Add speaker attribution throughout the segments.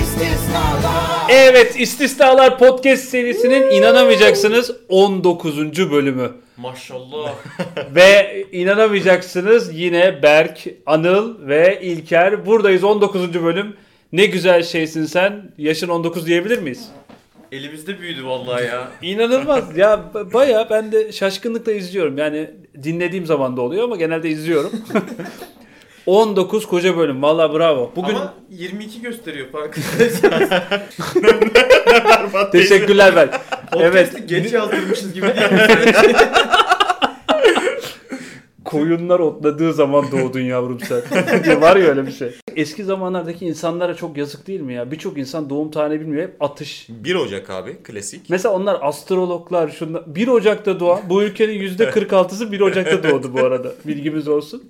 Speaker 1: İstisnalar
Speaker 2: Evet İstisnalar Podcast serisinin inanamayacaksınız 19. bölümü.
Speaker 3: Maşallah.
Speaker 2: ve inanamayacaksınız yine Berk, Anıl ve İlker buradayız 19. bölüm. Ne güzel şeysin sen. Yaşın 19 diyebilir miyiz?
Speaker 3: Elimizde büyüdü vallahi ya.
Speaker 2: İnanılmaz ya b- baya ben de şaşkınlıkla izliyorum. Yani dinlediğim zaman da oluyor ama genelde izliyorum. 19 koca bölüm. Valla bravo. Bugün
Speaker 3: Ama 22 gösteriyor fark.
Speaker 2: teşekkürler Berk.
Speaker 3: evet.
Speaker 2: evet.
Speaker 3: geç yazdırmışız gibi değil
Speaker 2: Koyunlar otladığı zaman doğdun yavrum sen. Ya Var ya öyle bir şey. Eski zamanlardaki insanlara çok yazık değil mi ya? Birçok insan doğum tarihini bilmiyor. Hep atış.
Speaker 4: 1 Ocak abi klasik.
Speaker 2: Mesela onlar astrologlar şunlar. 1 Ocak'ta doğan bu ülkenin %46'sı 1 Ocak'ta doğdu bu arada. Bilgimiz olsun.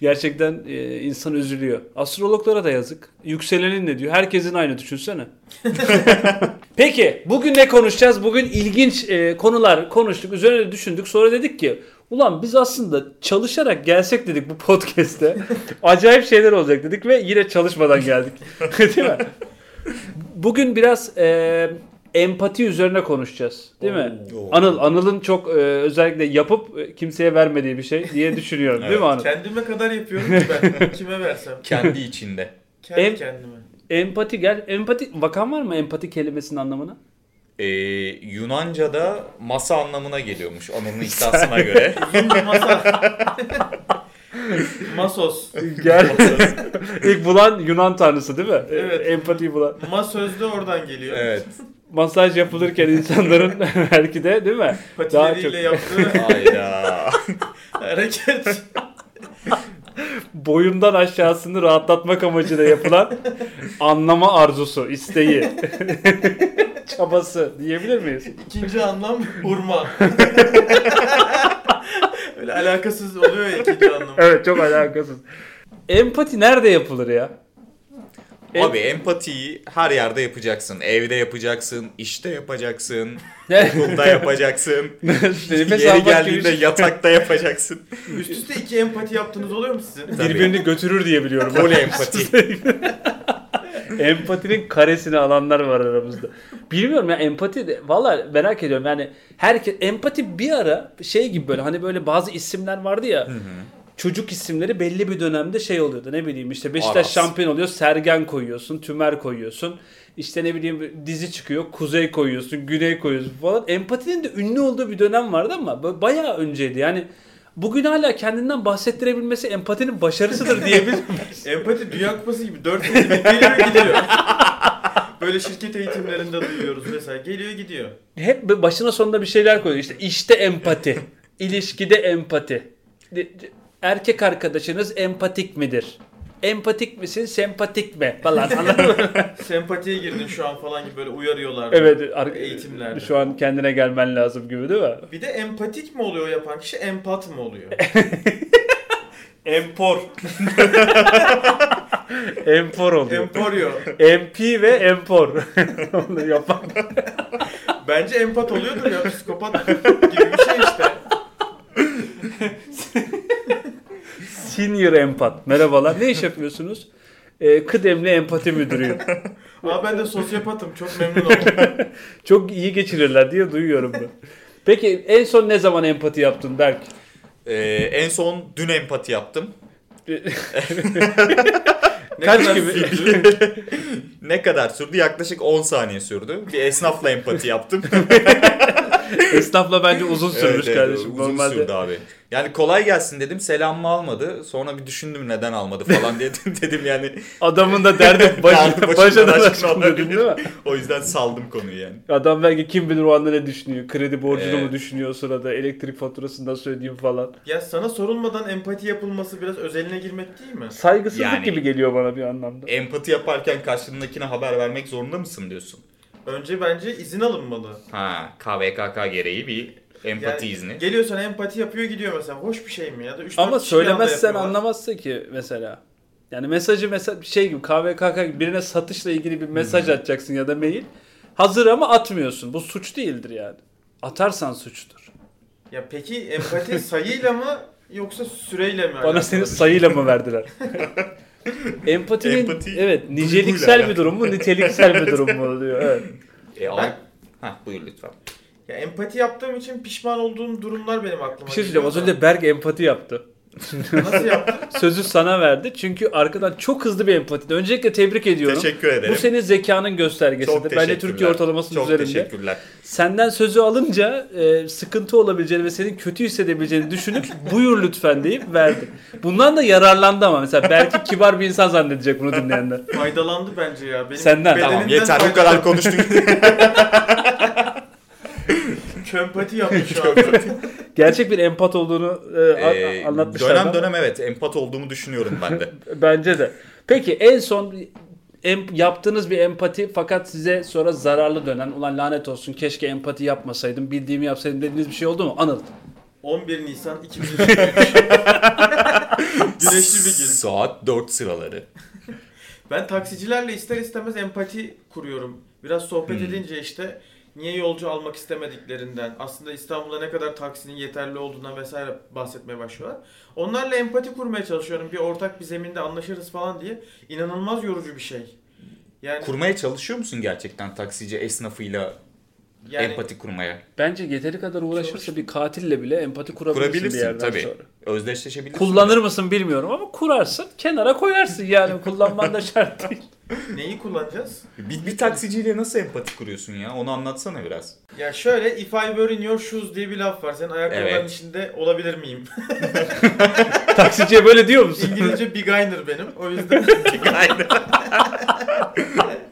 Speaker 2: Gerçekten e, insan üzülüyor. Astrologlara da yazık. Yükselenin ne diyor? Herkesin aynı düşünsene. Peki bugün ne konuşacağız? Bugün ilginç e, konular konuştuk, üzerine düşündük. Sonra dedik ki ulan biz aslında çalışarak gelsek dedik bu podcast'te. Acayip şeyler olacak dedik ve yine çalışmadan geldik. Değil mi? Bugün biraz e, empati üzerine konuşacağız. Değil mi?
Speaker 4: Oo.
Speaker 2: Anıl, Anıl'ın çok e, özellikle yapıp e, kimseye vermediği bir şey diye düşünüyorum. Değil mi Anıl?
Speaker 3: Kendime kadar yapıyorum ki ben. Kime versem.
Speaker 4: Kendi içinde.
Speaker 3: Kendi
Speaker 2: Em-
Speaker 3: kendime.
Speaker 2: Empati gel. Empati vakan var mı empati kelimesinin anlamına?
Speaker 4: Ee, Yunanca'da masa anlamına geliyormuş onun iddiasına göre.
Speaker 3: Uzun masa. Masos.
Speaker 2: Gel. İlk bulan Yunan tanrısı değil mi?
Speaker 3: Evet.
Speaker 2: Empatiyi bulan.
Speaker 3: Masöz de oradan geliyor.
Speaker 4: Evet.
Speaker 2: Masaj yapılırken insanların belki de değil mi?
Speaker 3: Patileriyle yaptığı
Speaker 4: Hayda.
Speaker 3: hareket.
Speaker 2: Boyundan aşağısını rahatlatmak amacıyla yapılan anlama arzusu, isteği, çabası diyebilir miyiz?
Speaker 3: İkinci anlam vurma. Öyle alakasız oluyor ya ikinci anlam.
Speaker 2: Evet çok alakasız. Empati nerede yapılır ya? Em-
Speaker 4: abi empatiyi her yerde yapacaksın. Evde yapacaksın, işte yapacaksın, okulda yapacaksın.
Speaker 2: Nefes
Speaker 4: Yeri
Speaker 2: almak
Speaker 4: geldiğinde
Speaker 3: şey.
Speaker 2: gibi
Speaker 4: yatakta yapacaksın.
Speaker 3: Üst üste iki empati yaptığınız oluyor mu sizin?
Speaker 4: Tabii.
Speaker 2: birbirini götürür diye biliyorum.
Speaker 4: Poli empati.
Speaker 2: Empatinin karesini alanlar var aramızda. Bilmiyorum ya empati de valla merak ediyorum yani herkes empati bir ara şey gibi böyle hani böyle bazı isimler vardı ya. Çocuk isimleri belli bir dönemde şey oluyordu ne bileyim işte Beşiktaş
Speaker 4: Aras.
Speaker 2: şampiyon oluyor Sergen koyuyorsun, Tümer koyuyorsun. İşte ne bileyim dizi çıkıyor Kuzey koyuyorsun, Güney koyuyorsun falan. Empatinin de ünlü olduğu bir dönem vardı ama böyle bayağı önceydi yani. Bugün hala kendinden bahsettirebilmesi empatinin başarısıdır diyebilir miyiz?
Speaker 3: Empati Dünya Kupası gibi 4 sene geliyor gidiyor. Böyle şirket eğitimlerinde duyuyoruz mesela. Geliyor gidiyor.
Speaker 2: Hep böyle başına sonuna bir şeyler koyuyor. İşte işte empati. ilişkide empati. De- de- Erkek arkadaşınız empatik midir? Empatik misin, sempatik mi? Falan anladın mı?
Speaker 3: Sempatiye girdin şu an falan gibi böyle uyarıyorlar.
Speaker 2: evet. ar-
Speaker 3: Eğitimlerde.
Speaker 2: Şu an kendine gelmen lazım gibi değil mi?
Speaker 3: Bir de empatik mi oluyor yapan kişi, empat mı oluyor?
Speaker 2: Empor. Empor oluyor.
Speaker 3: Emporyo.
Speaker 2: MP ve empor. Onu yapan.
Speaker 3: Bence empat oluyordur ya psikopat gibi bir şey işte.
Speaker 2: Senior empat. Merhabalar. Ne iş yapıyorsunuz? Ee, kıdemli empati müdürüyüm.
Speaker 3: Ama ben de sosyopatım çok memnun oldum.
Speaker 2: Çok iyi geçirirler diye duyuyorum ben. Peki en son ne zaman empati yaptın Berk?
Speaker 4: Ee, en son dün empati yaptım.
Speaker 3: Ne
Speaker 2: Kaç
Speaker 3: kadar
Speaker 2: gibi?
Speaker 3: sürdü?
Speaker 4: Ne kadar sürdü? Yaklaşık 10 saniye sürdü. Bir esnafla empati yaptım.
Speaker 2: Esnafla bence uzun sürmüş
Speaker 4: Evet, evet,
Speaker 2: kardeşim
Speaker 4: uzun
Speaker 2: normalde.
Speaker 4: sürdü abi. Yani kolay gelsin dedim selamımı almadı. Sonra bir düşündüm neden almadı falan dedim. dedim yani
Speaker 2: Adamın da derdi başı,
Speaker 4: Derdi başından
Speaker 2: başından
Speaker 4: aşkın
Speaker 2: aşkın dedim değil mi?
Speaker 4: o yüzden saldım konuyu yani.
Speaker 2: Adam belki kim bilir o anda ne düşünüyor. Kredi borcunu mu
Speaker 4: Evet.
Speaker 2: düşünüyor o sırada. Elektrik faturasından söylediğim falan.
Speaker 3: Ya sana sorulmadan empati yapılması biraz özeline girmek değil mi?
Speaker 2: Saygısızlık
Speaker 4: Yani- E,
Speaker 2: gibi geliyor bana bir anlamda.
Speaker 4: Empati yaparken karşındakine haber vermek zorunda mısın diyorsun.
Speaker 3: Önce bence izin alınmalı.
Speaker 4: Ha KVKK gereği bir empati izni.
Speaker 3: Geliyor sana empati yapıyor gidiyor mesela. Hoş bir şey mi ya? Da üç,
Speaker 2: Ama
Speaker 3: dört kişi bir anda
Speaker 2: söylemezsen
Speaker 3: yapıyorlar.
Speaker 2: anlamazsın ki mesela. Yani mesajı mesela şey gibi KVKK gibi birine satışla ilgili bir mesaj atacaksın ya da mail. Hazır ama atmıyorsun. Bu suç değildir yani. Atarsan suçtur.
Speaker 3: Ya peki empati sayıyla mı yoksa süreyle mi?
Speaker 2: Bana
Speaker 4: şey.
Speaker 3: alakalı?
Speaker 2: seni sayıyla mı verdiler? Empatinin
Speaker 4: Empati
Speaker 2: evet
Speaker 4: duyguyla
Speaker 2: niceliksel bir
Speaker 4: alakalı.
Speaker 2: durum mu, niteliksel bir durum mu diyor. Evet.
Speaker 4: E, o-
Speaker 3: Ben-
Speaker 4: Hah, buyur lütfen.
Speaker 3: Ya empati yaptığım için pişman olduğum durumlar benim aklıma
Speaker 2: Bir şey
Speaker 3: geliyor
Speaker 2: söyleyeceğim. Az
Speaker 3: da.
Speaker 2: önce Berk empati yaptı.
Speaker 3: Nasıl yaptın?
Speaker 2: Sözü sana verdi. Çünkü arkadan çok hızlı bir empati. Öncelikle tebrik ediyorum.
Speaker 4: Teşekkür ederim.
Speaker 2: Bu senin zekanın göstergesidir. Bence Türkiye
Speaker 4: teşekkürler.
Speaker 2: ortalamasının
Speaker 4: Çok
Speaker 2: üzerinde.
Speaker 4: teşekkürler.
Speaker 2: Senden sözü alınca e, sıkıntı olabileceğini ve senin kötü hissedebileceğini düşünüp buyur lütfen deyip verdi. Bundan da yararlandı ama mesela belki kibar bir insan zannedecek bunu dinleyenler.
Speaker 3: Faydalandı bence ya. Benim
Speaker 2: Senden.
Speaker 3: bedenimden
Speaker 4: Tamam yeter bu
Speaker 3: faydalandı.
Speaker 4: kadar konuştuk.
Speaker 3: Kömpati yaptı şu an.
Speaker 2: Gerçek bir empat olduğunu e, a-
Speaker 4: Ee,
Speaker 2: anlatmışlar.
Speaker 4: dönem
Speaker 2: da.
Speaker 4: dönem evet empat olduğumu düşünüyorum ben de.
Speaker 2: Bence de. Peki en son em- yaptığınız bir empati fakat size sonra zararlı dönen ulan lanet olsun keşke empati yapmasaydım bildiğimi yapsaydım dediğiniz bir şey oldu mu? Anıl.
Speaker 3: 11 Nisan 2023. Güneşli bir gün.
Speaker 4: Saat 4 sıraları.
Speaker 3: Ben taksicilerle ister istemez empati kuruyorum. Biraz sohbet
Speaker 4: Hmm.
Speaker 3: edince işte niye yolcu almak istemediklerinden, aslında İstanbul'da ne kadar taksinin yeterli olduğundan vesaire bahsetmeye başlıyorlar. Onlarla empati kurmaya çalışıyorum. Bir ortak bir zeminde anlaşırız falan diye. İnanılmaz yorucu bir şey. Yani,
Speaker 4: Kurmaya çalışıyor musun gerçekten taksici esnafıyla
Speaker 3: yani
Speaker 4: empati kurmaya?
Speaker 2: Bence yeteri kadar uğraşırsa bir katille bile empati kurabilirsin, bir
Speaker 4: Kurabilirsin
Speaker 2: yerden
Speaker 4: tabii.
Speaker 2: sonra.
Speaker 4: Özdeşleşebilirsin.
Speaker 2: Kullanır mısın bilmiyorum ama kurarsın kenara koyarsın yani kullanman da şart değil.
Speaker 3: neyi kullanacağız?
Speaker 4: Bir, bir taksiciyle nasıl empati kuruyorsun ya? Onu anlatsana biraz.
Speaker 3: Ya şöyle if I were in your shoes diye bir laf var. Senin ayakkabıların
Speaker 4: Evet.
Speaker 3: içinde olabilir miyim?
Speaker 2: Taksiciye böyle diyor musun?
Speaker 3: İngilizce beginner benim. O yüzden taksici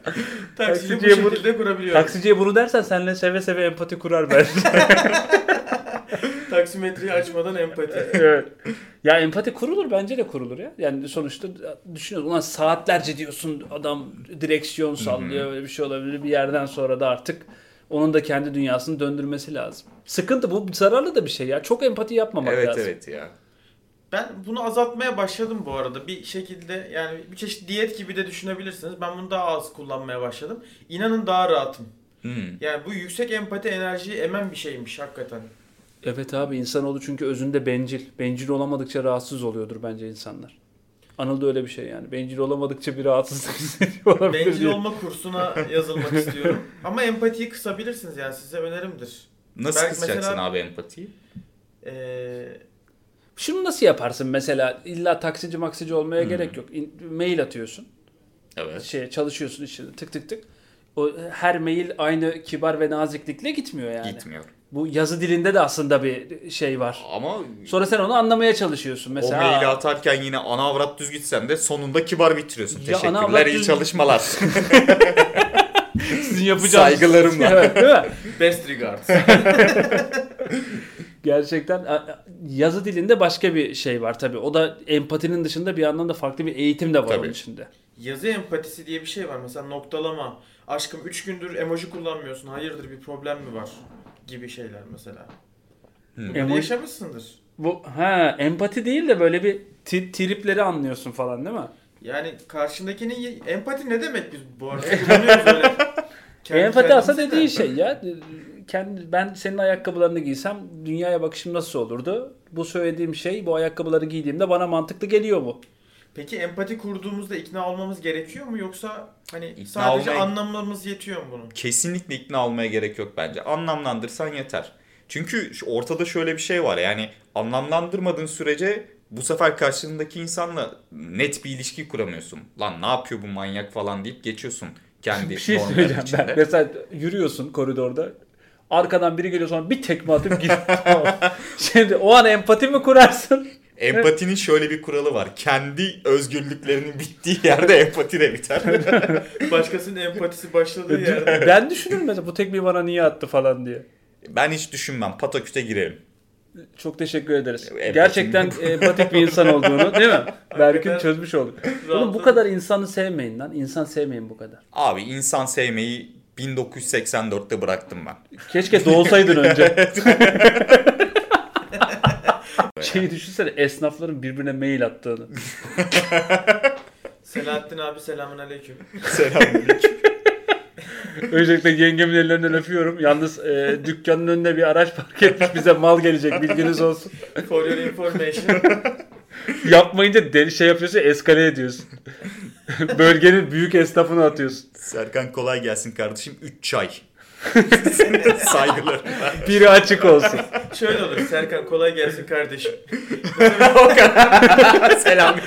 Speaker 3: bu
Speaker 2: Taksiciye bu-
Speaker 3: şekilde kurabiliyorum.
Speaker 2: Taksiciye bunu dersen seninle seve seve empati kurar bence.
Speaker 3: Taksimetreyi açmadan empati.
Speaker 2: evet. Ya empati kurulur bence de kurulur ya. Yani sonuçta düşünüyorsun ulan saatlerce diyorsun adam direksiyon sallıyor böyle bir şey olabilir bir yerden sonra da artık onun da kendi dünyasını döndürmesi lazım. Sıkıntı bu zararlı da bir şey ya. Çok empati yapmamak
Speaker 4: evet
Speaker 2: lazım.
Speaker 4: evet ya.
Speaker 3: Ben bunu azaltmaya başladım bu arada. Bir şekilde yani bir çeşit diyet gibi de düşünebilirsiniz. Ben bunu daha az kullanmaya başladım. İnanın daha rahatım.
Speaker 4: Hmm.
Speaker 3: Yani bu yüksek empati enerjiyi emen bir şeymiş hakikaten.
Speaker 2: Evet abi insanoğlu çünkü özünde bencil. Bencil olamadıkça rahatsız oluyordur bence insanlar. Anıl da öyle bir şey yani. Bencil olamadıkça bir rahatsızlık hissediyor olabilir.
Speaker 3: Bencil
Speaker 2: diye.
Speaker 3: olma kursuna yazılmak istiyorum. Ama empatiyi kısabilirsiniz yani size önerimdir.
Speaker 4: Nasıl
Speaker 3: Belki
Speaker 4: kısacaksın
Speaker 3: mesela-
Speaker 4: abi empatiyi?
Speaker 3: Ee,
Speaker 2: Şunu nasıl yaparsın mesela? İlla taksici maksici olmaya gerek yok. İn- mail atıyorsun.
Speaker 4: Evet.
Speaker 2: şey çalışıyorsun işte tık tık tık. O her mail aynı kibar ve naziklikle gitmiyor yani.
Speaker 4: Gitmiyor.
Speaker 2: Bu yazı dilinde de aslında bir şey var.
Speaker 4: Ama
Speaker 2: Sonra sen onu anlamaya çalışıyorsun
Speaker 4: o
Speaker 2: mesela.
Speaker 4: maili atarken yine ana avrat düz gitsen de sonunda kibar bitiriyorsun.
Speaker 2: Ya ana
Speaker 4: Teşekkürler,
Speaker 2: avrat
Speaker 4: iyi
Speaker 2: düz-
Speaker 4: çalışmalar.
Speaker 2: sizin yapacağınız.
Speaker 4: Saygılarımla.
Speaker 2: Evet, değil mi?
Speaker 3: best regards.
Speaker 2: Gerçekten a- a- yazı dilinde başka bir şey var tabii. O da empatinin dışında bir anlamda farklı bir eğitim de var
Speaker 4: Tabii.
Speaker 2: onun içinde.
Speaker 3: Yazı empatisi diye bir şey var. Mesela noktalama. Aşkım 3 gündür emoji kullanmıyorsun. Hayırdır bir problem mi var? Gibi şeyler mesela. Bunları
Speaker 2: Emoji-
Speaker 3: yaşamışsındır.
Speaker 2: Bu ha empati değil de böyle bir ti- tripleri anlıyorsun falan değil mi?
Speaker 3: Yani karşındakinin ye- empati ne demek biz bu arada? Kullanıyoruz öyle. Kendi
Speaker 2: empati
Speaker 3: kendimize
Speaker 2: aslında
Speaker 3: de.
Speaker 2: dediğin şey ya. Kendi, ben senin ayakkabılarını giysem dünyaya bakışım nasıl olurdu? Bu söylediğim şey bu ayakkabıları giydiğimde bana mantıklı geliyor mu?
Speaker 3: Peki empati kurduğumuzda ikna olmamız gerekiyor mu yoksa hani
Speaker 4: İkna
Speaker 3: sadece
Speaker 4: olmayı-
Speaker 3: anlamamız yetiyor mu bunun?
Speaker 4: kesinlikle ikna olmaya gerek yok bence. Anlamlandırsan yeter. Çünkü şu- ortada şöyle bir şey var yani anlamlandırmadığın sürece bu sefer karşındaki insanla net bir ilişki kuramıyorsun. Lan ne yapıyor bu manyak falan deyip geçiyorsun kendi
Speaker 2: Bir şey
Speaker 4: normların
Speaker 2: söyleyeceğim
Speaker 4: içinde.
Speaker 2: ben. Mesela yürüyorsun koridorda. Arkadan biri geliyor sonra bir tekme atıp gidiyor. Şimdi o an empati mi kurarsın?
Speaker 4: Empatinin şöyle bir kuralı var. Kendi özgürlüklerinin bittiği yerde empati de biter.
Speaker 3: Başkasının empatisi başladığı yerde.
Speaker 2: ben düşünürüm mesela bu tekmeyi bana niye attı falan diye.
Speaker 4: ben hiç düşünmem. Pataküte girerim.
Speaker 2: Çok teşekkür ederiz.
Speaker 4: E, Empati.
Speaker 2: Gerçekten empatik bir insan olduğunu değil mi? Berk'in
Speaker 3: Hakikaten.
Speaker 2: çözmüş olduk. Oğlum bu
Speaker 3: Rahatladım.
Speaker 2: kadar insanı sevmeyin lan. İnsan sevmeyin bu kadar.
Speaker 4: Abi insan sevmeyi 1984'te bıraktım ben.
Speaker 2: Keşke doğsaydın önce. Şeyi düşünsene esnafların birbirine mail attığını.
Speaker 3: Selahattin abi selamün aleyküm.
Speaker 4: Selamünaleyküm.
Speaker 2: Öncelikle yengemin ellerinden öpüyorum. Yalnız e, dükkanın önüne bir araç park etmiş bize mal gelecek bilginiz olsun.
Speaker 3: For your information.
Speaker 2: Yapmayınca deli şey yapıyorsun eskale ediyorsun. Bölgenin büyük esnafını atıyorsun.
Speaker 4: Serkan kolay gelsin kardeşim. 3 çay. Saygılar.
Speaker 2: Biri açık olsun.
Speaker 3: Şöyle olur Serkan kolay gelsin kardeşim.
Speaker 4: o kadar. Selam.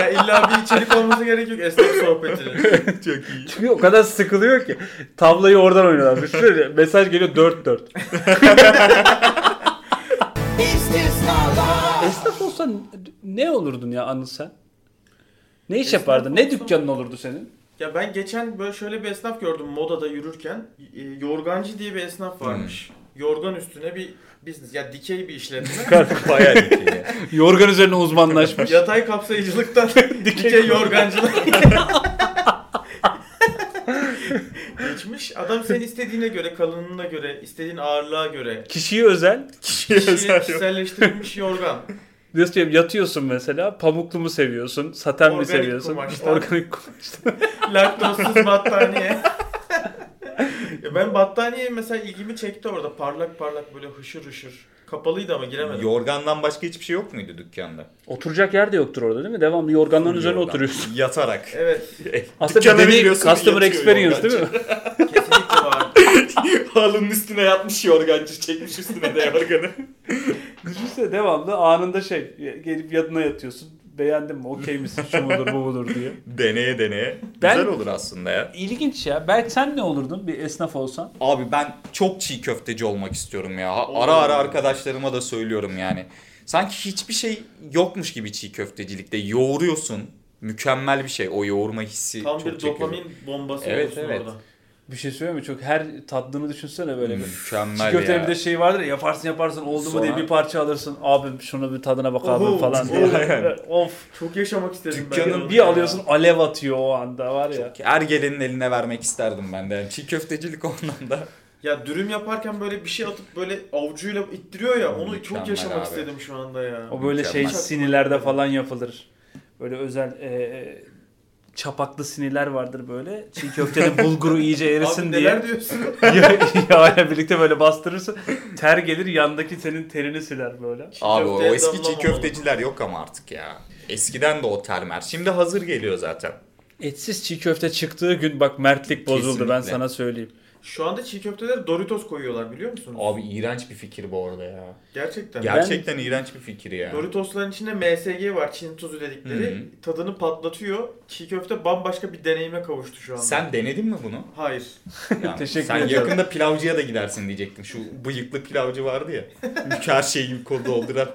Speaker 3: Ya illa bir içerik olması gerek yok esnaf sohbetinin.
Speaker 4: Çok iyi.
Speaker 2: Çünkü o kadar sıkılıyor ki. Tablayı oradan oynuyorlar. Şöyle mesaj geliyor 4-4. Esnaf olsan ne olurdun ya Anıl sen? Ne iş
Speaker 3: Esnaf
Speaker 2: yapardın? Ne
Speaker 3: olsam-
Speaker 2: dükkanın olurdu senin?
Speaker 3: Ya ben geçen böyle şöyle bir esnaf gördüm modada yürürken. E, Yorgancı diye bir esnaf varmış. Yorgan üstüne bir business ya dikey bir işletme.
Speaker 4: Bayağı iyi. şey ya.
Speaker 2: Yorgan üzerine uzmanlaşmış.
Speaker 3: Yatay kapsayıcılıktan dikey yorgancılık. Geçmiş. Adam senin istediğine göre, kalınlığına göre, istediğin ağırlığa göre.
Speaker 2: Kişiye özel.
Speaker 4: Kişiye
Speaker 3: Kişiye
Speaker 4: özel yok.
Speaker 3: kişiselleştirilmiş yorgan.
Speaker 2: Nasıl diyeyim, yatıyorsun mesela. Pamuklu mu seviyorsun? Saten mi
Speaker 3: Organik
Speaker 2: seviyorsun?
Speaker 3: kumaştan.
Speaker 2: Organik kumaştan.
Speaker 3: Laktozsuz battaniye. ya ben battaniye mesela ilgimi çekti orada. Parlak parlak böyle hışır hışır. Kapalıydı ama giremedim.
Speaker 4: Yorgandan başka hiçbir şey yok muydu dükkanda?
Speaker 2: Oturacak yer de yoktur orada değil mi? Devamlı yorganların üzerine
Speaker 4: Yorgan.
Speaker 2: oturuyorsun.
Speaker 4: Yatarak.
Speaker 3: Evet.
Speaker 2: Aslında
Speaker 4: Dükkana
Speaker 2: bir deney
Speaker 4: giriyorsun,
Speaker 2: customer
Speaker 4: yatıyor
Speaker 2: experience
Speaker 4: yorgancı.
Speaker 2: değil mi?
Speaker 3: Kesinlikle var.
Speaker 4: Halının üstüne yatmış yorgancı çekmiş üstüne de yorganı.
Speaker 2: Düşünsene devamlı anında şey gelip yanına yatıyorsun. Beğendin mi? Okey misin? Şu mudur bu mudur diye.
Speaker 4: deneye deneye.
Speaker 2: Ben-
Speaker 4: Güzel olur aslında ya.
Speaker 2: İlginç ya. Belki sen ne olurdun bir esnaf olsan?
Speaker 4: Abi ben çok çiğ köfteci olmak istiyorum ya. Ha-
Speaker 3: Oo.
Speaker 4: Ara ara arkadaşlarıma da söylüyorum yani. Sanki hiçbir şey yokmuş gibi çiğ köftecilikte. Yoğuruyorsun. Mükemmel bir şey. O yoğurma hissi
Speaker 3: Tam
Speaker 4: çok
Speaker 3: bir
Speaker 4: çekiyor.
Speaker 3: dopamin bombası
Speaker 4: Evet,
Speaker 3: olursun
Speaker 4: evet.
Speaker 3: orada.
Speaker 2: Bir şey söyleyeyim mi? Çok her tatlını düşünsene böyle bir. Çiğ
Speaker 4: Mükemmel
Speaker 2: köftenin bir de
Speaker 4: ya.
Speaker 2: şeyi vardır ya yaparsın yaparsın oldu mu
Speaker 4: Sonra-
Speaker 2: diye bir parça alırsın. Abi şunu bir tadına bak abi
Speaker 3: Oho,
Speaker 2: falan diye. of.
Speaker 3: Çok yaşamak istedim ben.
Speaker 4: Dükkanın
Speaker 3: onu
Speaker 2: Bir
Speaker 3: ya.
Speaker 2: alıyorsun alev atıyor o anda var ya.
Speaker 4: Her gelenin eline vermek isterdim ben de. Yani çiğ köftecilik o anlamda.
Speaker 3: Ya dürüm yaparken böyle bir şey atıp böyle avucuyla ittiriyor ya. Onu çok
Speaker 4: Mükemmel
Speaker 3: yaşamak
Speaker 4: abi.
Speaker 3: istedim şu anda ya.
Speaker 2: O böyle şey
Speaker 4: Mükemmel.
Speaker 2: sinilerde falan yapılır. Böyle özel e, çapaklı siniler vardır böyle. Çiğ köftede bulguru iyice erisin
Speaker 3: Abi
Speaker 2: diye.
Speaker 3: neler diyorsun?
Speaker 2: ya, yağla birlikte böyle bastırırsın. Ter gelir yandaki senin terini siler böyle.
Speaker 4: Abi o
Speaker 3: Köfteye
Speaker 4: eski çiğ
Speaker 3: damlamamalı.
Speaker 4: köfteciler yok ama artık ya. Eskiden de o termer. Şimdi hazır geliyor zaten.
Speaker 2: Etsiz çiğ köfte çıktığı gün bak mertlik bozuldu ben
Speaker 4: Kesinlikle.
Speaker 2: sana söyleyeyim.
Speaker 3: Şu anda çiğ köftelere Doritos koyuyorlar biliyor musunuz?
Speaker 4: Abi iğrenç bir fikir bu arada ya.
Speaker 3: Gerçekten.
Speaker 4: Gerçekten iğrenç bir fikir ya.
Speaker 3: Doritosların içinde MSG var Çin tuzu dedikleri.
Speaker 4: Hı hı.
Speaker 3: Tadını patlatıyor. Çiğ köfte bambaşka bir deneyime kavuştu şu anda.
Speaker 4: Sen denedin mi bunu?
Speaker 3: Hayır.
Speaker 4: Yani
Speaker 2: Teşekkür
Speaker 4: sen
Speaker 2: ederim.
Speaker 4: yakında pilavcıya da gidersin diyecektim. Şu bıyıklı pilavcı vardı ya. Ülke her şeyi gibi kol dolduran.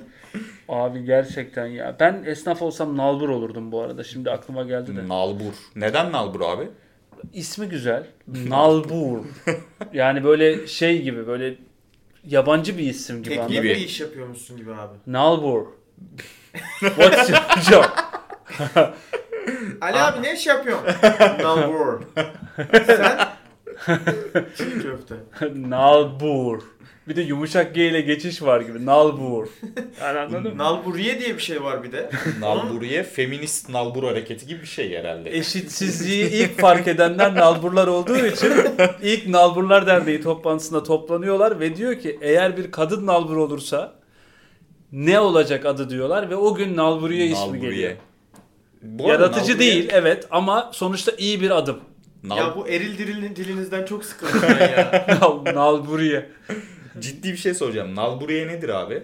Speaker 2: Abi gerçekten ya. Ben esnaf olsam nalbur olurdum bu arada. Şimdi aklıma geldi de.
Speaker 4: Nalbur. Neden nalbur abi?
Speaker 2: İsmi güzel. Nalbur. yani böyle şey gibi böyle yabancı bir isim gibi.
Speaker 3: Teknik
Speaker 2: anladın
Speaker 4: gibi.
Speaker 3: bir iş yapıyormuşsun gibi abi.
Speaker 2: Nalbur. What's your job?
Speaker 3: Ali
Speaker 4: Ah.
Speaker 3: abi ne iş yapıyorsun? Nalbur. Sen? Çiğ köfte.
Speaker 2: Nalbur. Bir de yumuşak G ile geçiş var gibi. Nalbur. Yani
Speaker 3: Hmm.
Speaker 2: anladın mı?
Speaker 3: Nalburiye diye bir şey var bir de.
Speaker 4: Nalburiye feminist nalbur hareketi gibi bir şey
Speaker 2: E,
Speaker 4: herhalde.
Speaker 2: Eşitsizliği ilk fark edenler nalburlar olduğu için ilk nalburlar derneği toplantısında toplanıyorlar ve diyor ki eğer bir kadın nalbur olursa ne olacak adı diyorlar ve o gün nalburiye, ismi geliyor.
Speaker 4: Bu arada
Speaker 2: Yaratıcı
Speaker 4: nalburiye-
Speaker 2: değil evet ama sonuçta iyi bir adım.
Speaker 4: Nal-
Speaker 3: Ya bu eril dilin, dilinizden çok sıkıldım ben ya.
Speaker 2: nalburiye.
Speaker 4: Ciddi bir şey soracağım. Nalburiye nedir abi?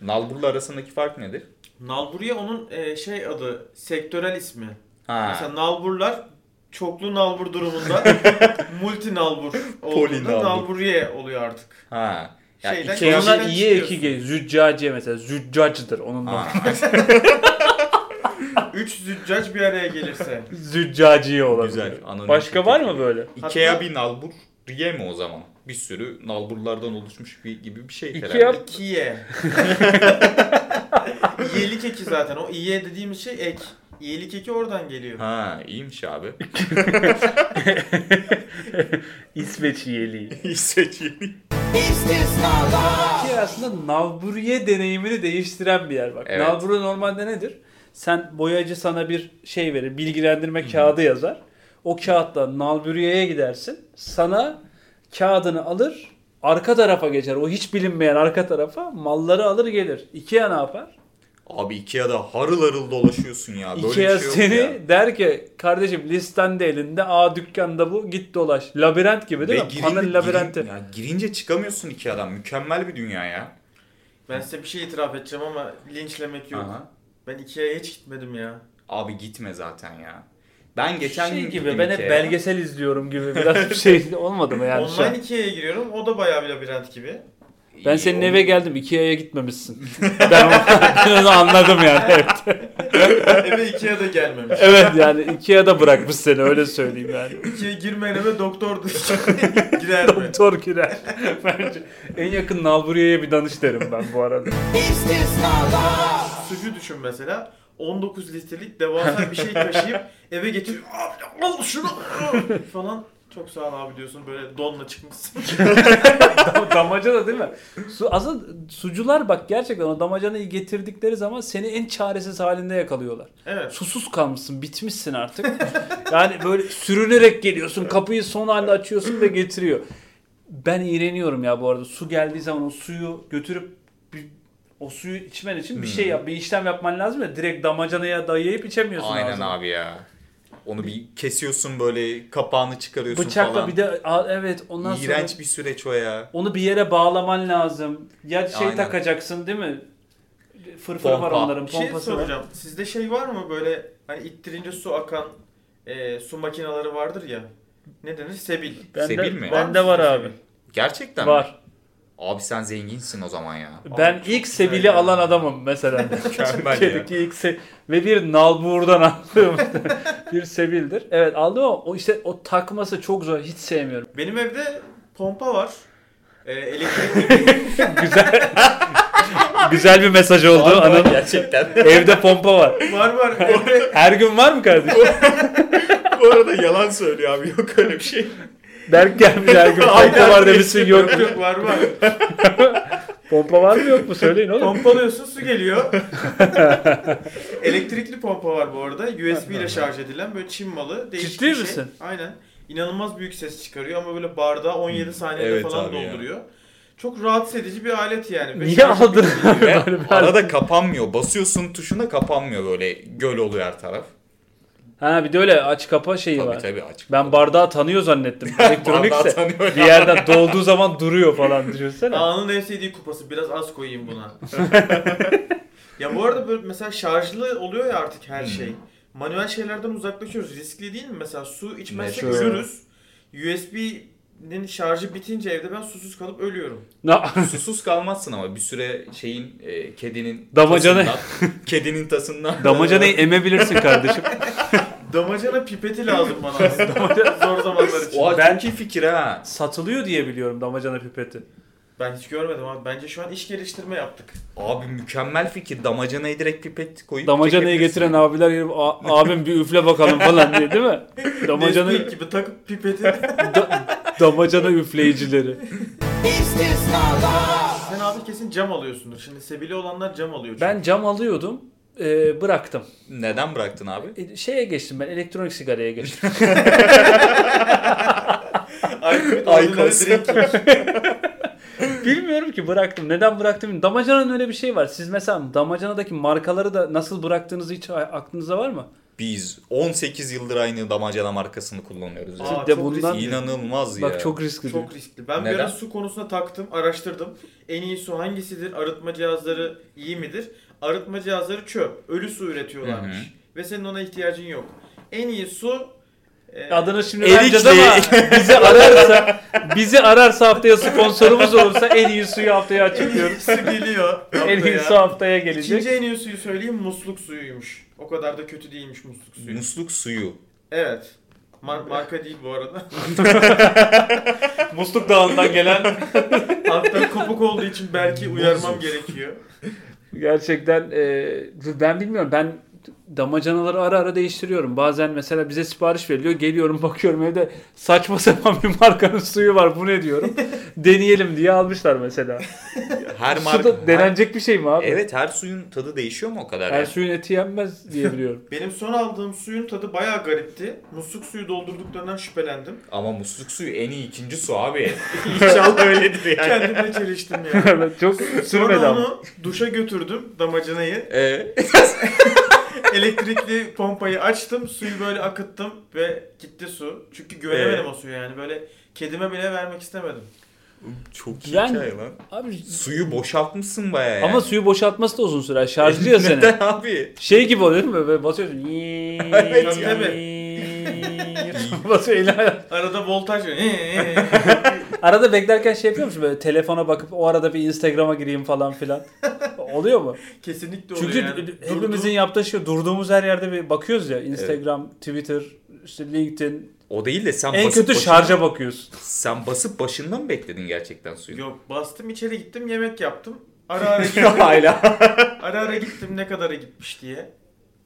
Speaker 4: Nalburla arasındaki fark nedir?
Speaker 3: Nalburiye onun e, şey adı, sektörel ismi.
Speaker 4: Ha.
Speaker 3: Mesela nalburlar çoklu nalbur durumunda multi nalbur
Speaker 4: Poli
Speaker 3: olduğunda
Speaker 4: nalbur.
Speaker 3: nalburiye oluyor artık.
Speaker 4: ha. Ya
Speaker 3: Şeyden-
Speaker 4: Ikea-
Speaker 3: Şeyden-
Speaker 2: Ona iyi
Speaker 3: çıkıyorsun.
Speaker 2: eki geliyor. Züccaciye mesela. Züccacıdır onun adı.
Speaker 4: Ha.
Speaker 3: Üç züccac bir araya gelirse.
Speaker 2: Züccaciye olabilir.
Speaker 4: Güzel, anonim
Speaker 2: Başka var mı
Speaker 4: şirketi.
Speaker 2: böyle?
Speaker 4: Ikea bir nalbur diye mi o zaman? Bir sürü nalburlardan oluşmuş bir gibi bir şey
Speaker 2: Ikea-
Speaker 4: herhalde.
Speaker 3: Kiye. İyelik eki zaten. O iye dediğimiz şey ek. İyelik eki oradan geliyor.
Speaker 4: Ha iyiymiş abi.
Speaker 2: İsveç yeliği.
Speaker 4: İsveçli.
Speaker 2: Ki aslında nalburiye deneyimini değiştiren bir yer bak.
Speaker 4: Evet.
Speaker 2: Nalburu normalde nedir? Sen boyacı sana bir şey verir, bilgilendirme kağıdı yazar. O kağıtla nalburiyeye gidersin. Sana kağıdını alır, arka tarafa geçer. O hiç bilinmeyen arka tarafa malları alır gelir. Ikea ne yapar?
Speaker 4: Abi Ikea'da harıl harıl dolaşıyorsun ya. Böyle
Speaker 2: Ikea
Speaker 4: bir şey yok
Speaker 2: seni
Speaker 4: ya.
Speaker 2: der ki kardeşim listen de elinde. Aa dükkanda bu git dolaş. Labirent gibi değil
Speaker 4: Ve
Speaker 2: mi?
Speaker 4: girin-
Speaker 2: Panel
Speaker 4: girin-
Speaker 2: labirenti.
Speaker 4: ya girince çıkamıyorsun Ikea'dan. Mükemmel bir dünya ya.
Speaker 3: Ben size bir şey itiraf edeceğim ama linçlemek yok.
Speaker 4: Aha.
Speaker 3: Ben Ikea'ya hiç gitmedim ya.
Speaker 4: Abi gitme zaten ya. Ben geçen
Speaker 2: şey
Speaker 4: gün
Speaker 2: gibi
Speaker 4: gittim
Speaker 2: ben hep
Speaker 4: Ikea'ya.
Speaker 2: belgesel izliyorum gibi biraz bir şey olmadı mı yani? şu an?
Speaker 3: Online Ikea'ya giriyorum. O da bayağı bir labirent gibi.
Speaker 2: Ben
Speaker 4: İyi,
Speaker 2: senin
Speaker 4: oldu.
Speaker 2: eve geldim. Ikea'ya gitmemişsin. ben, onu, ben onu anladım yani. Evet.
Speaker 3: Eve Ikea'da gelmemiş.
Speaker 2: evet yani Ikea'da bırakmış seni öyle söyleyeyim yani.
Speaker 3: Ikea'ya girmeyen eve doktordu. Girer mi?
Speaker 2: Doktor girer. Bence en yakın Nalburiye'ye bir danış derim ben bu arada.
Speaker 3: Sucu düşün mesela. 19 litrelik devasa bir şey taşıyıp eve getiriyor. Abi al şunu al!" falan. Çok sağ ol abi diyorsun böyle donla çıkmışsın.
Speaker 2: Dam- Damacana değil mi? Su, aslında sucular bak gerçekten o damacanayı getirdikleri zaman seni en çaresiz halinde yakalıyorlar.
Speaker 3: Evet.
Speaker 2: Susuz kalmışsın, bitmişsin artık. Yani böyle sürünerek geliyorsun, kapıyı son halde açıyorsun ve getiriyor. Ben iğreniyorum ya bu arada. Su geldiği zaman o suyu götürüp bir- o suyu içmen için bir şey
Speaker 4: Hmm.
Speaker 2: yap, bir işlem yapman lazım ya. Direkt damacanaya dayayıp içemiyorsun.
Speaker 4: Aynen
Speaker 2: ağzına.
Speaker 4: abi ya. Onu bir kesiyorsun böyle kapağını çıkarıyorsun
Speaker 2: Bıçakla
Speaker 4: falan.
Speaker 2: bir de a- evet ondan sonra
Speaker 4: İğrenç bir süreç o ya.
Speaker 2: onu bir yere bağlaman lazım. Ya şey
Speaker 4: Aynen.
Speaker 2: takacaksın değil mi? Fırfırı var
Speaker 4: Pompa.
Speaker 2: onların
Speaker 3: Bir şey
Speaker 2: pompası var.
Speaker 3: soracağım. Sizde şey var mı böyle hani ittirince su akan e, su makineleri vardır ya. Ne denir? Sebil.
Speaker 4: Sebil mi?
Speaker 3: Var mı
Speaker 2: Bende var
Speaker 3: sizde
Speaker 2: abi.
Speaker 3: sebil?
Speaker 4: Gerçekten mi?
Speaker 2: Var.
Speaker 4: Abi sen zenginsin o zaman ya.
Speaker 2: Ben
Speaker 3: çok
Speaker 2: ilk
Speaker 3: güzel
Speaker 2: Sebil'i
Speaker 3: ya.
Speaker 2: alan adamım mesela.
Speaker 4: Mükemmel
Speaker 2: Türkiye'deki ilk se- ve bir nalburdan aldığım bir Sebil'dir. Evet aldım ama o işte o takması çok zor. Hiç sevmiyorum.
Speaker 3: Benim evde pompa var. E, elektrik
Speaker 2: Güzel. Güzel bir mesaj oldu
Speaker 4: Var, var
Speaker 2: anam.
Speaker 4: gerçekten.
Speaker 2: Evde pompa var.
Speaker 3: var var. Evde
Speaker 2: Her gün var mı kardeşim?
Speaker 4: Bu arada yalan söylüyor abi yok öyle bir şey.
Speaker 2: Berk gelmiş her gün pompa var demişsin yok.
Speaker 3: yok var var.
Speaker 2: Pompa var mı yok mu söyleyin oğlum.
Speaker 3: Pompalıyorsun su geliyor. Elektrikli pompa var bu arada. USB ile şarj edilen böyle Çin malı. Değişik
Speaker 2: Ciddi
Speaker 3: bir şey.
Speaker 2: misin?
Speaker 3: Aynen. İnanılmaz büyük ses çıkarıyor ama böyle bardağı 17 saniyede
Speaker 4: Hmm. Evet
Speaker 3: falan
Speaker 4: abi ya.
Speaker 3: dolduruyor. Çok rahatsız edici bir alet yani. Ve
Speaker 2: Niye
Speaker 3: şarj-
Speaker 2: aldın?
Speaker 4: Ve
Speaker 2: Böyle bir-
Speaker 4: arada kapanmıyor. Basıyorsun tuşuna kapanmıyor böyle göl oluyor her taraf.
Speaker 2: Ha bir de öyle aç kapa şeyi
Speaker 4: Tabii
Speaker 2: var.
Speaker 4: tabii açık.
Speaker 2: Ben bardağı tanıyor zannettim.
Speaker 4: Bardağı
Speaker 2: Elektronikse
Speaker 4: tanıyor
Speaker 2: bir
Speaker 4: ya.
Speaker 2: yerden dolduğu zaman duruyor falan düşünsene.
Speaker 3: Ağanın en sevdiği kupası. Biraz az koyayım buna. ya bu arada böyle mesela şarjlı oluyor ya artık her
Speaker 4: Hmm.
Speaker 3: şey. Manuel şeylerden uzaklaşıyoruz. Riskli değil mi? Mesela su içmezsek
Speaker 2: Meşhur.
Speaker 3: ölürüz. USB'nin şarjı bitince evde ben susuz kalıp ölüyorum.
Speaker 2: Na-
Speaker 4: Susuz kalmazsın ama bir süre şeyin e, kedinin
Speaker 2: Damacana-
Speaker 4: tasından, kedinin tasından
Speaker 2: Damacanayı emebilirsin kardeşim.
Speaker 3: Damacana pipeti lazım bana aslında. Zor zamanlar için.
Speaker 4: Oha
Speaker 2: Ben-
Speaker 4: çok iyi fikir ha.
Speaker 2: Satılıyor diye biliyorum damacana pipeti.
Speaker 3: Ben hiç görmedim abi. Bence şu an iş geliştirme yaptık.
Speaker 4: Abi mükemmel fikir. Damacanayı direkt pipet koyup
Speaker 2: Damacanayı
Speaker 4: çekebilirsin.
Speaker 2: getiren abiler gelip "A- abim bir üfle bakalım falan diye değil mi? Damacana,
Speaker 3: Nesquik gibi takıp pipeti.
Speaker 2: da- damacana üfleyicileri.
Speaker 3: Sen abi kesin cam alıyorsundur. Şimdi sebili olanlar cam alıyor. çünkü.
Speaker 2: Ben cam alıyordum. e, bıraktım.
Speaker 4: Neden bıraktın abi?
Speaker 2: E, şeye geçtim ben elektronik sigaraya geçtim.
Speaker 3: Aykut
Speaker 4: Aykos.
Speaker 3: ordinary drinking.
Speaker 2: Bilmiyorum ki bıraktım. Neden bıraktım? bilmiyorum. Damacananın öyle bir şey var. Siz mesela damacanadaki markaları da nasıl bıraktığınızı hiç a- aklınızda var mı?
Speaker 4: Biz 18 yıldır aynı damacana markasını kullanıyoruz. ya.
Speaker 3: Aa,
Speaker 2: de
Speaker 3: çok
Speaker 2: bundan-
Speaker 3: riskli.
Speaker 4: İnanılmaz ya.
Speaker 2: Bak çok riskli.
Speaker 3: Çok riskli. Ben bir
Speaker 4: Neden?
Speaker 3: ara su konusuna taktım, araştırdım. En iyi su hangisidir? Arıtma cihazları iyi midir? Arıtma cihazları çöp. Ölü su üretiyorlarmış.
Speaker 4: Hı
Speaker 3: Ve senin ona ihtiyacın yok. En iyi su... e,
Speaker 2: Adını şimdi
Speaker 4: Erikli.
Speaker 2: vereceğiz ama bizi ararsa bizi ararsa haftaya sponsorumuz olursa en iyi suyu haftaya
Speaker 3: En
Speaker 2: açıklıyoruz.
Speaker 3: iyisi geliyor.
Speaker 2: en iyi
Speaker 3: Haftaya.
Speaker 2: su haftaya gelecek.
Speaker 3: İkinci en iyi suyu söyleyeyim musluk suyuymuş. O kadar da kötü değilmiş musluk suyu.
Speaker 4: Musluk suyu.
Speaker 3: Evet. Mar- marka değil bu arada.
Speaker 2: Musluk Dağı'ndan gelen.
Speaker 3: Hatta kopuk olduğu için belki uyarmam gerekiyor.
Speaker 2: Gerçekten e, ben bilmiyorum. Ben damacanaları ara ara değiştiriyorum. Bazen mesela bize sipariş veriliyor. Geliyorum bakıyorum evde saçma sapan bir markanın suyu var. Bu ne diyorum. Deneyelim diye almışlar mesela.
Speaker 4: Her
Speaker 2: Su
Speaker 4: marka
Speaker 2: da denenecek bir şey mi abi?
Speaker 4: her- Evet her suyun tadı değişiyor mu o kadar?
Speaker 2: Her
Speaker 4: ya?
Speaker 2: suyun eti yenmez diye biliyorum.
Speaker 3: Benim son aldığım suyun tadı bayağı garipti. Musluk suyu doldurduklarından şüphelendim.
Speaker 4: Ama musluk suyu en iyi ikinci su abi. İnşallah öyledir yani.
Speaker 3: Kendimle çeliştim yani.
Speaker 2: Evet, Çok sürmedi
Speaker 3: Sonra
Speaker 2: ama.
Speaker 3: onu duşa götürdüm damacanayı.
Speaker 4: Ee,
Speaker 3: Elektrikli pompayı açtım, suyu böyle akıttım ve gitti su. Çünkü güvenemedim
Speaker 2: Ee?
Speaker 3: o suya yani. Böyle kedime bile vermek istemedim.
Speaker 4: çok iyi
Speaker 2: Ben-
Speaker 4: hikaye lan.
Speaker 2: Abi,
Speaker 4: Suyu boşaltmışsın bayağı yani.
Speaker 2: ama suyu boşaltması da uzun sürer. Şarjlı ya seni.
Speaker 4: Neden abi?
Speaker 2: Şey gibi oluyor değil mi? Böyle basıyorsun.
Speaker 4: Evet,
Speaker 2: tabii. Basıyor eli-
Speaker 3: Arada voltaj
Speaker 2: Arada beklerken şey yapıyor musun? Böyle telefona bakıp o arada bir Instagram'a gireyim falan filan. Oluyor mu?
Speaker 3: Kesinlikle oluyor
Speaker 2: Çünkü
Speaker 3: yani.
Speaker 2: hepimizin yaptığı şey durduğumuz her yerde bir bakıyoruz ya. Instagram, Twitter, işte LinkedIn.
Speaker 4: O değil de sen
Speaker 2: en
Speaker 4: basıp
Speaker 2: kötü
Speaker 4: başına-
Speaker 2: şarja bakıyorsun.
Speaker 4: Sen basıp başında mı bekledin gerçekten suyu?
Speaker 3: Yok bastım içeri gittim yemek yaptım. Ara ara gittim.
Speaker 4: Hala.
Speaker 3: ara ara gittim ne kadara gitmiş diye.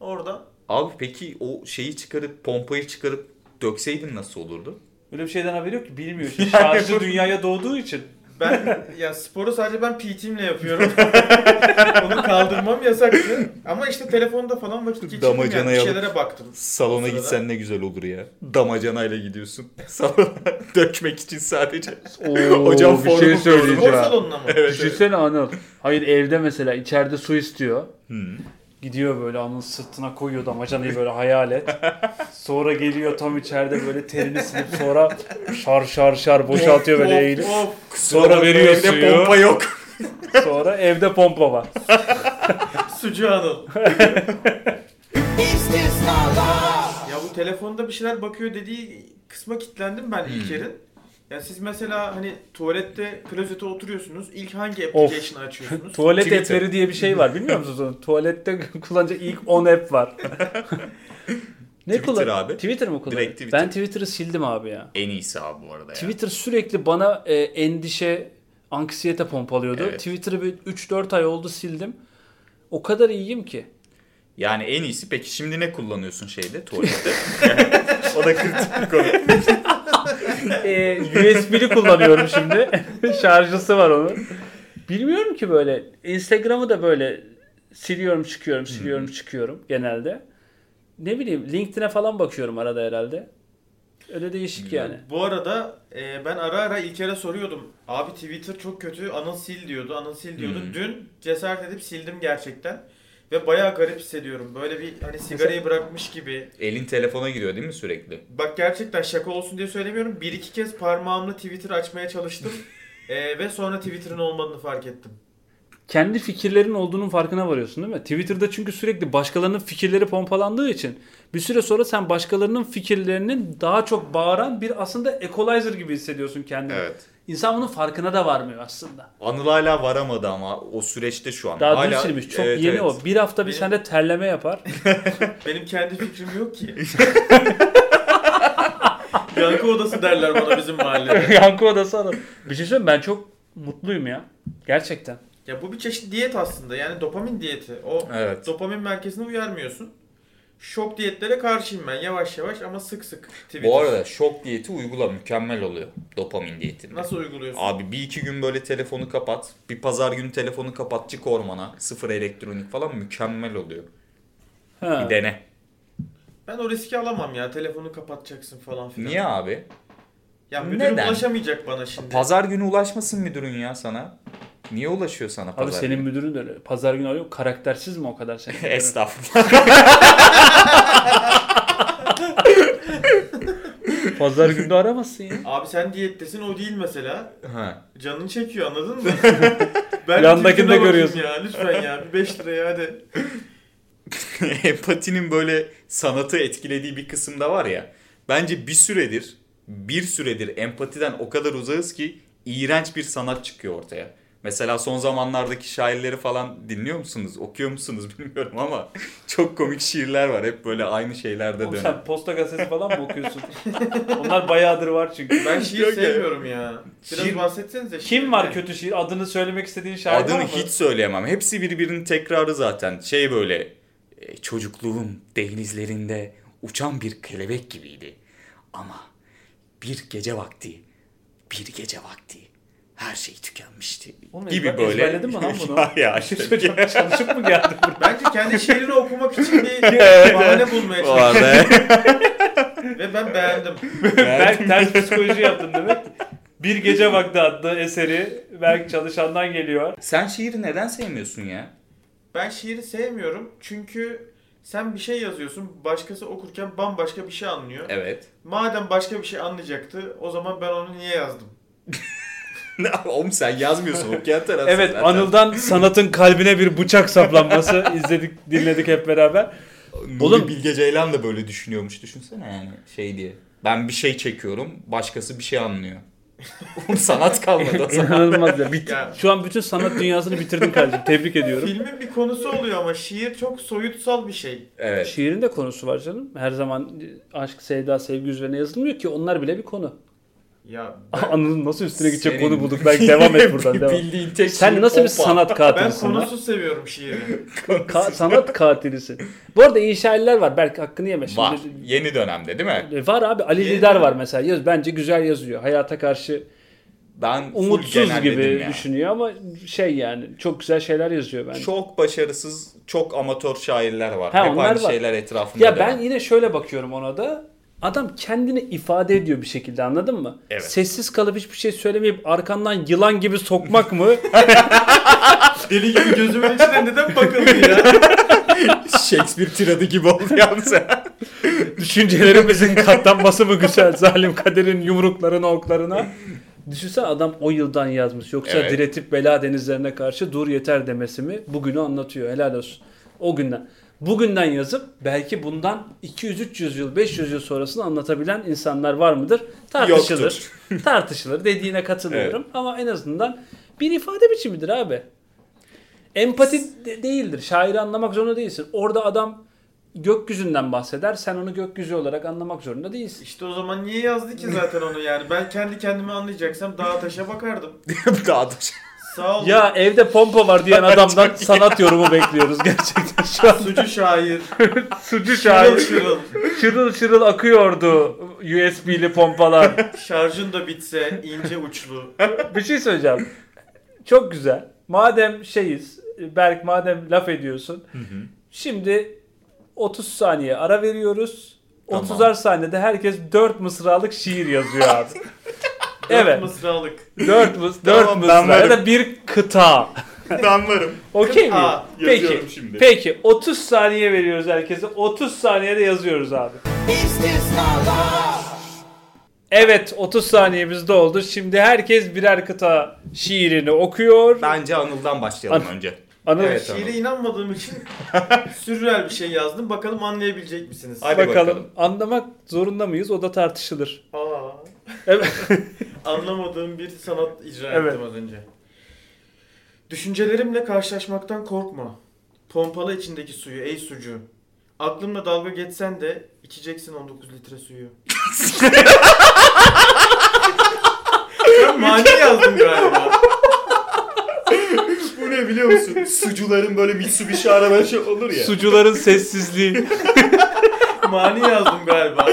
Speaker 3: Orada
Speaker 4: Abi peki o şeyi çıkarıp pompayı çıkarıp dökseydin nasıl olurdu?
Speaker 2: Böyle bir şeyden haberi yok ki bilmiyor.
Speaker 4: Yani
Speaker 2: Şarjı
Speaker 4: bu-
Speaker 2: dünyaya doğduğu için.
Speaker 3: ben ya sporu sadece ben PT'mle yapıyorum. Onu kaldırmam yasaktı. Ama işte telefonda falan vakit geçirdim yani.
Speaker 4: Damacana
Speaker 3: Bir
Speaker 4: yalıp-
Speaker 3: şeylere baktım.
Speaker 4: Salona
Speaker 3: Sırada.
Speaker 4: gitsen ne güzel olur ya. Damacanayla gidiyorsun. Salona dökmek için sadece.
Speaker 2: Oo, şey
Speaker 4: Hocam formu gördüm.
Speaker 3: Spor salonuna mı?
Speaker 4: Evet,
Speaker 2: Düşünsene Anıl. Hayır evde mesela içeride su istiyor.
Speaker 4: Hı.
Speaker 2: Gidiyor böyle Anıl'ın sırtına koyuyor damacanayı böyle hayal et. Sonra geliyor tam içeride böyle terini silip sonra şar şar şar boşaltıyor böyle
Speaker 3: Of,
Speaker 2: eğilip.
Speaker 3: of.
Speaker 4: Kusura
Speaker 2: Sonra
Speaker 4: bakma,
Speaker 2: veriyor
Speaker 4: evde
Speaker 2: suyu.
Speaker 4: pompa yok.
Speaker 2: Sonra evde pompa var.
Speaker 3: Sucu Hanım.
Speaker 1: Is this my life?
Speaker 3: Ya bu telefonda bir şeyler bakıyor dediği kısma kilitlendim ben İlker'in. Ya siz mesela hani tuvalette klozete oturuyorsunuz. İlk hangi application'ı açıyorsunuz?
Speaker 2: Tuvalet
Speaker 4: Twitter.
Speaker 2: app'leri diye bir şey var biliyor musunuz onu? Tuvalette kullanacak ilk 10 app var. ne
Speaker 4: Twitter
Speaker 2: kullan-
Speaker 4: abi.
Speaker 2: Twitter mı kullan?
Speaker 4: Direkt Twitter.
Speaker 2: Ben Twitter'ı sildim abi ya.
Speaker 4: En iyisi abi bu arada ya.
Speaker 2: Twitter sürekli bana e, endişe, anksiyete pompalıyordu.
Speaker 4: Evet.
Speaker 2: Twitter'ı bir 3-4 ay oldu sildim. O kadar iyiyim ki.
Speaker 4: Yani en iyisi peki şimdi ne kullanıyorsun şeyde tuvalette? yani, o da kritik bir konu. E,
Speaker 2: Ee, USB'li kullanıyorum şimdi. Şarjısı var onun. Bilmiyorum ki böyle. Instagram'ı da böyle siliyorum çıkıyorum siliyorum çıkıyorum genelde. Ne bileyim LinkedIn'e falan bakıyorum arada herhalde. Öyle değişik
Speaker 4: Güzel.
Speaker 2: yani.
Speaker 3: Bu arada e, ben ara ara İlker'e soruyordum. Abi Twitter çok kötü. Anıl sil diyordu. Anıl sil diyordu.
Speaker 4: Hı.
Speaker 3: Dün cesaret edip sildim gerçekten. Ve bayağı garip hissediyorum. Böyle bir hani sigarayı bırakmış gibi.
Speaker 4: Elin telefona giriyor değil mi sürekli?
Speaker 3: Bak gerçekten şaka olsun diye söylemiyorum. Bir iki kez parmağımla Twitter açmaya çalıştım. E, ve sonra Twitter'ın olmadığını fark ettim.
Speaker 2: Kendi fikirlerin olduğunun farkına varıyorsun değil mi? Twitter'da çünkü sürekli başkalarının fikirleri pompalandığı için bir süre sonra sen başkalarının fikirlerinin daha çok bağıran bir aslında equalizer gibi hissediyorsun kendini. İnsan bunun farkına da varmıyor aslında.
Speaker 4: Anıl hala varamadı ama o süreçte şu an.
Speaker 2: Daha dün
Speaker 4: hala,
Speaker 2: silmiş. Çok
Speaker 4: Evet,
Speaker 2: yeni
Speaker 4: evet.
Speaker 2: o. Bir hafta bir
Speaker 3: Benim-
Speaker 2: sende terleme yapar.
Speaker 3: Benim kendi fikrim yok ki. Yankı odası derler bana bizim mahallede.
Speaker 2: Yankı odası adam. Bir şey söyleyeyim mi? ben çok mutluyum ya. Gerçekten.
Speaker 3: Ya bu bir çeşit diyet aslında. Yani dopamin diyeti. O
Speaker 4: Evet.
Speaker 3: dopamin merkezine uyarmıyorsun. Şok diyetlere karşıyım ben yavaş yavaş ama sık sık Twitter.
Speaker 4: Bu arada şok diyeti uygula mükemmel oluyor. Dopamin diyeti.
Speaker 3: Nasıl uyguluyorsun?
Speaker 4: Abi bir iki gün böyle telefonu kapat. Bir pazar günü telefonu kapat çık ormana. Sıfır elektronik falan mükemmel oluyor.
Speaker 2: Ha.
Speaker 4: Bir dene.
Speaker 3: Ben o riski alamam ya. Telefonu kapatacaksın falan filan.
Speaker 4: Niye abi?
Speaker 3: Ya müdürüm
Speaker 4: Neden?
Speaker 3: ulaşamayacak bana şimdi.
Speaker 4: Pazar günü ulaşmasın müdürün ya sana. Niye ulaşıyor sana
Speaker 2: Abi
Speaker 4: pazar
Speaker 2: senin
Speaker 4: günü?
Speaker 2: müdürün de öyle. Pazar günü arıyor. Karaktersiz mi o kadar senin? müdürün?
Speaker 4: Estağfurullah.
Speaker 2: Pazar günü de aramazsın ya.
Speaker 3: Abi sen diyettesin o değil mesela.
Speaker 4: Ha.
Speaker 3: Canın çekiyor anladın mı?
Speaker 2: Yandakini de
Speaker 3: Twitter'a bakayım
Speaker 2: görüyorsun.
Speaker 3: Ya, lütfen ya bir 5 liraya hadi.
Speaker 4: Empatinin böyle sanatı etkilediği bir kısımda var ya. Bence bir süredir, bir süredir empatiden o kadar uzağız ki iğrenç bir sanat çıkıyor ortaya. Mesela son zamanlardaki şairleri falan dinliyor musunuz, okuyor musunuz bilmiyorum ama çok komik şiirler var. Hep böyle aynı şeylerde
Speaker 2: Oğlum
Speaker 4: dönen.
Speaker 2: sen posta gazetesi falan mı okuyorsun? Onlar bayağıdır var çünkü.
Speaker 3: Ben şiir
Speaker 4: Yok ya.
Speaker 3: sevmiyorum ya. Biraz
Speaker 4: Şiir-
Speaker 3: bahsetsenize.
Speaker 2: Kim var
Speaker 3: şiirden.
Speaker 2: kötü şiir? Adını söylemek istediğin şair var
Speaker 4: Adını
Speaker 2: mı?
Speaker 4: hiç söyleyemem. Hepsi birbirinin tekrarı zaten. Şey böyle e, E, çocukluğum denizlerinde uçan bir kelebek gibiydi. Ama bir gece vakti, bir gece vakti her şey tükenmişti.
Speaker 2: Oğlum, ezber-
Speaker 4: gibi böyle.
Speaker 2: ezberledin mi lan bunu?
Speaker 4: ya, aşırı-
Speaker 2: Çocuk çalışıp mı geldi? buraya?
Speaker 3: Bence kendi şiirini okumak için bir bahane bulmaya
Speaker 4: Bu
Speaker 3: çalıştım.
Speaker 4: arada
Speaker 3: Ve ben beğendim.
Speaker 2: Berk ters psikoloji yaptın demek. Bir Gece Vakti adlı eseri Berk Çalışan'dan geliyor.
Speaker 4: sen şiiri neden sevmiyorsun ya?
Speaker 3: Ben şiiri sevmiyorum çünkü sen bir şey yazıyorsun, başkası okurken bambaşka bir şey anlıyor.
Speaker 4: Evet.
Speaker 3: Madem başka bir şey anlayacaktı, o zaman ben onu niye yazdım?
Speaker 4: Oğlum sen yazmıyorsun okuyan tarafsın
Speaker 2: Evet
Speaker 4: zaten.
Speaker 2: Anıl'dan sanatın kalbine bir bıçak saplanması izledik dinledik hep beraber.
Speaker 4: Nuri
Speaker 2: Oğlum-
Speaker 4: Bilge Ceylan da böyle düşünüyormuş düşünsene yani şey diye. Ben bir şey çekiyorum başkası bir şey anlıyor. Oğlum sanat kalmadı o zaman.
Speaker 2: İnanılmaz ya. Bit-
Speaker 3: Ya.
Speaker 2: Şu an bütün sanat dünyasını bitirdin kardeşim. Tebrik ediyorum.
Speaker 3: Filmin bir konusu oluyor ama şiir çok soyutsal bir şey.
Speaker 4: Evet.
Speaker 2: Şiirin de konusu var canım. Her zaman aşk, sevda, sevgi üzerine yazılmıyor ki onlar bile bir konu.
Speaker 3: Ya
Speaker 2: Anıl'ın nasıl üstüne gidecek
Speaker 4: Senin-
Speaker 2: konu bulduk. Belki devam et buradan devam.
Speaker 4: Bildiğin şey tek
Speaker 2: Sen
Speaker 4: şiir
Speaker 2: nasıl bir
Speaker 4: pompa.
Speaker 2: sanat
Speaker 3: ben
Speaker 2: katilisin lan?
Speaker 3: konusu seviyorum şiiri.
Speaker 2: Ka- sanat katilisin. Bu arada iyi şairler var. Belki hakkını yeme. Şimdi
Speaker 4: Var. Yeni dönemde değil mi?
Speaker 2: E, Var abi Ali
Speaker 3: Yeni-
Speaker 2: Lider var mesela. Yaz, bence güzel yazıyor. Hayata karşı
Speaker 4: Ben full
Speaker 2: umutsuz
Speaker 4: genelledim
Speaker 2: gibi
Speaker 4: ya.
Speaker 2: düşünüyor ama şey yani çok güzel şeyler yazıyor bence.
Speaker 4: Çok başarısız, çok amatör şairler var.
Speaker 2: Ha,
Speaker 4: Hep
Speaker 2: onlar
Speaker 4: aynı
Speaker 2: var.
Speaker 4: şeyler etrafında.
Speaker 2: Ya ben
Speaker 4: dönen.
Speaker 2: yine şöyle bakıyorum ona da. Adam kendini ifade ediyor bir şekilde anladın mı?
Speaker 4: Evet.
Speaker 2: Sessiz kalıp hiçbir şey söylemeyip arkandan yılan gibi sokmak mı?
Speaker 3: Deli gibi gözümün içine neden bakıldı ya?
Speaker 4: Shakespeare tiradı gibi oldu yalnız.
Speaker 2: Düşüncelerimizin katlanması mı güzel zalim kaderin yumruklarına oklarına? Düşünsene adam o yıldan yazmış. Yoksa
Speaker 4: Evet.
Speaker 2: diretip bela denizlerine karşı dur yeter demesi mi? Bugünü anlatıyor. Helal olsun. O günden. Bugünden yazıp belki bundan 200-300 yıl, 500 yıl sonrasını anlatabilen insanlar var mıdır? Tartışılır.
Speaker 4: Yoktur.
Speaker 2: tartışılır dediğine katılıyorum. Ama en azından bir ifade biçimidir abi. Empati de- değildir. Şairi anlamak zorunda değilsin. Orada adam gökyüzünden bahseder. Sen onu gökyüzü olarak anlamak zorunda değilsin.
Speaker 3: İşte o zaman niye yazdı ki zaten onu yani? Ben kendi kendime anlayacaksam dağa taşa bakardım.
Speaker 4: Daha da
Speaker 3: Sağ ol.
Speaker 2: Ya evde pompa var diyen adamdan sanat yorumu bekliyoruz gerçekten. Şu an
Speaker 3: Sucu şair.
Speaker 2: sucu
Speaker 3: Şırıl
Speaker 2: şair
Speaker 3: şırıl.
Speaker 2: şırıl şırıl akıyordu USB'li pompalar.
Speaker 3: Şarjın da bitse ince uçlu.
Speaker 2: Bir şey söyleyeceğim. Çok güzel. Madem şeyiz, Berk madem laf ediyorsun. Şimdi 30 saniye ara veriyoruz.
Speaker 4: Tamam.
Speaker 2: 30'ar saniyede herkes 4 mısralık şiir yazıyor abi.
Speaker 3: Evet.
Speaker 2: evet.
Speaker 3: Mısralık.
Speaker 2: 4 mıs 4
Speaker 4: Tamam, ben
Speaker 2: mısra ya
Speaker 4: varım.
Speaker 2: da bir kıta.
Speaker 4: ben varım.
Speaker 2: Okey mi?
Speaker 3: Kıta.
Speaker 2: Peki.
Speaker 4: Yazıyorum şimdi.
Speaker 2: Peki 30 saniye veriyoruz herkese. 30 saniyede yazıyoruz abi.
Speaker 1: Is this not love?
Speaker 2: Evet 30 saniyemiz doldu. Şimdi herkes birer kıta şiirini okuyor.
Speaker 4: Bence Anıl'dan başlayalım
Speaker 2: An-
Speaker 4: önce.
Speaker 2: Anıl
Speaker 4: Evet,
Speaker 3: Şiire
Speaker 4: tamam.
Speaker 3: inanmadığım için sürreal bir şey yazdım. Bakalım anlayabilecek misiniz?
Speaker 4: Hadi
Speaker 2: bakalım.
Speaker 4: bakalım.
Speaker 2: Anlamak zorunda mıyız? O da tartışılır.
Speaker 3: Aa,
Speaker 2: Evet.
Speaker 3: anlamadığım bir sanat icra
Speaker 2: Evet.
Speaker 3: ettim az önce. Düşüncelerimle karşılaşmaktan korkma. Pompala içindeki suyu ey sucu. Aklımla dalga geçsen de içeceksin 19 litre suyu. Ben mani yazdım galiba.
Speaker 4: Bu ne biliyor musun? Sucuların böyle Mitsubishi arabası olur ya.
Speaker 2: Sucuların sessizliği.
Speaker 3: Mani yazdım galiba.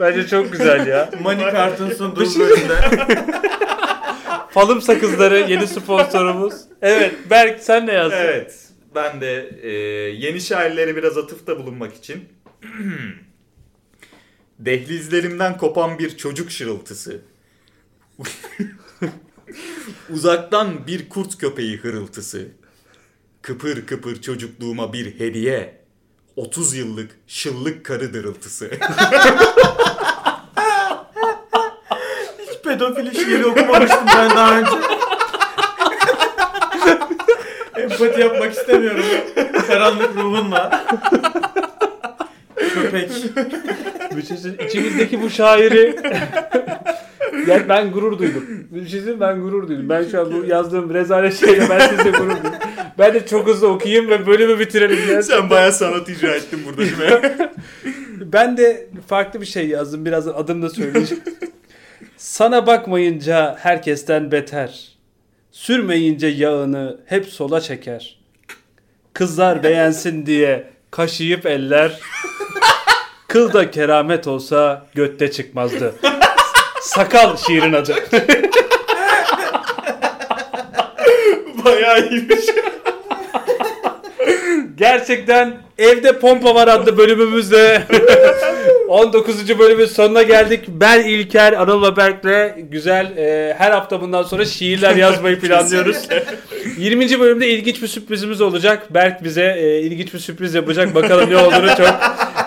Speaker 2: Bence çok güzel ya.
Speaker 3: Mani kartın sunduğu
Speaker 2: Bir şey-
Speaker 3: bölümde.
Speaker 2: Falım sakızları yeni sponsorumuz. Evet Berk sen ne yazdın?
Speaker 4: Evet. Ben de e, yeni şairlere biraz atıfta bulunmak için dehlizlerimden kopan bir çocuk şırıltısı. Uzaktan bir kurt köpeği hırıltısı. Kıpır kıpır çocukluğuma bir hediye. 30 yıllık şıllık karı dırıltısı.
Speaker 3: Hiç pedofili şiiri okumamıştım ben daha önce. Empati yapmak istemiyorum. Karanlık ruhunla. Köpek.
Speaker 2: Bir şey söyleyeyim. İçimizdeki bu şairi yani ben gurur duydum. Bir şey söyleyeyim, ben gurur duydum. Ben şu an bu yazdığım rezalet şeyle ben size gurur duydum. Ben de çok hızlı okuyayım ve bölümü bitirelim. ya.
Speaker 4: Sen bayağı sanat icra ettin burada değil mi?
Speaker 2: Ben de farklı bir şey yazdım. Birazdan adını da söyleyeceğim. Sana bakmayınca herkesten beter. Sürmeyince yağını hep sola çeker. Kızlar beğensin diye kaşıyıp eller. Kılda keramet olsa götte çıkmazdı. Sakal şiirin adı.
Speaker 4: Bayağı iyiymiş.
Speaker 2: Gerçekten Evde Pompa Var adlı bölümümüzde 19. bölümün sonuna geldik. Ben İlker, Anıl'la Berk'le güzel e, her hafta bundan sonra şiirler yazmayı planlıyoruz. 20. bölümde ilginç bir sürprizimiz olacak. Berk bize e, ilginç bir sürpriz yapacak. Bakalım ne olduğunu çok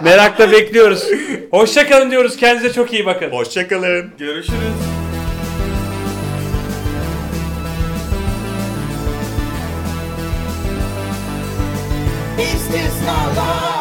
Speaker 2: merakla bekliyoruz. Hoşçakalın diyoruz. Kendinize çok iyi bakın.
Speaker 4: Hoşçakalın.
Speaker 3: Görüşürüz.
Speaker 1: Is this not love?